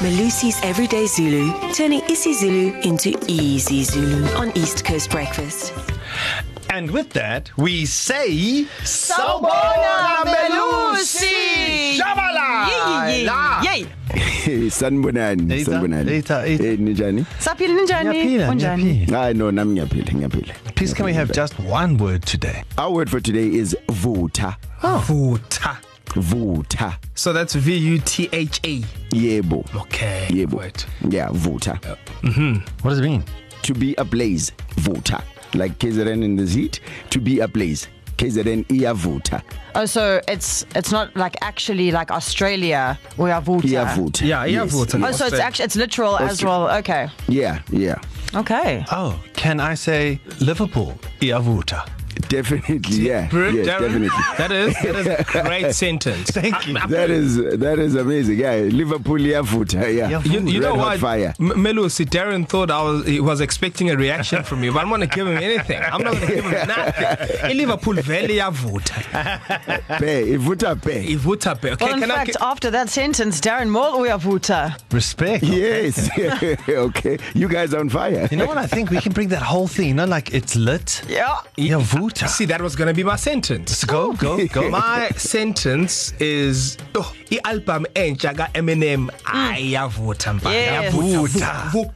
Malusi's Everyday Zulu, turning isiZulu into easy Zulu on East Coast Breakfast. And with that, we say Sawubona, Melusi! Shabala! Yay, La! yay, yay. sanibonani Eita, sanibonani eita, eita. Eh, ninjani Saphila ninjani? Ngiyaphila, Unjani? ngiyaphila. hayi no nami ngiyaphila ngiyaphila Please, can we have just one word today? our word for today is vutha Oh. Vuta. vutha So that's V U T H A. yebo Okay. yebo Word. yeah vutha What does it mean? to be ablaze vutha like KZN in the heat to be ablaze KZN iyavutha Oh, so it's it's not like actually like Australia or Yavuta. iyavutha Yeah, Yes, iyavutha. Oh, so it's actually it's literal as well. Okay, yeah yeah okay. Oh, can I say Liverpool? Iavuta. definitely yeah Bro, yes Darren, definitely That is that is a great sentence. Thank you. that is that is amazing yeah Liverpool iyavutha yeah You, you Red know hot what, fire M- Melusi? Darren thought I was he was expecting a reaction from you, but I'm going to give him anything. I'm not going to give him nothing. In Liverpool Valley, Yavuta. pe ivutha pe Ivuta. Okay, Well, in can fact, uh, I? after that sentence, Darren Moll or Yavuta? Respect. yes okay you guys on fire You know what? I think we can bring that whole thing, you know, like it's lit. Yeah. Iavuta. See, that was going to be my sentence. So go, go, go. My sentence is oh, i-album entsha ka-Eminem ayavuta Mm. Yes. Iyavutha, vu.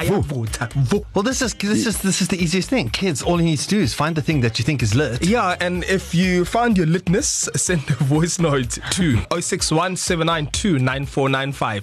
ayavuta Well, this is this is this is the easiest thing. Kids, all you need to do is find the thing that you think is lit. Yeah, and if you found oh your litness, send a voice note to 0617929495.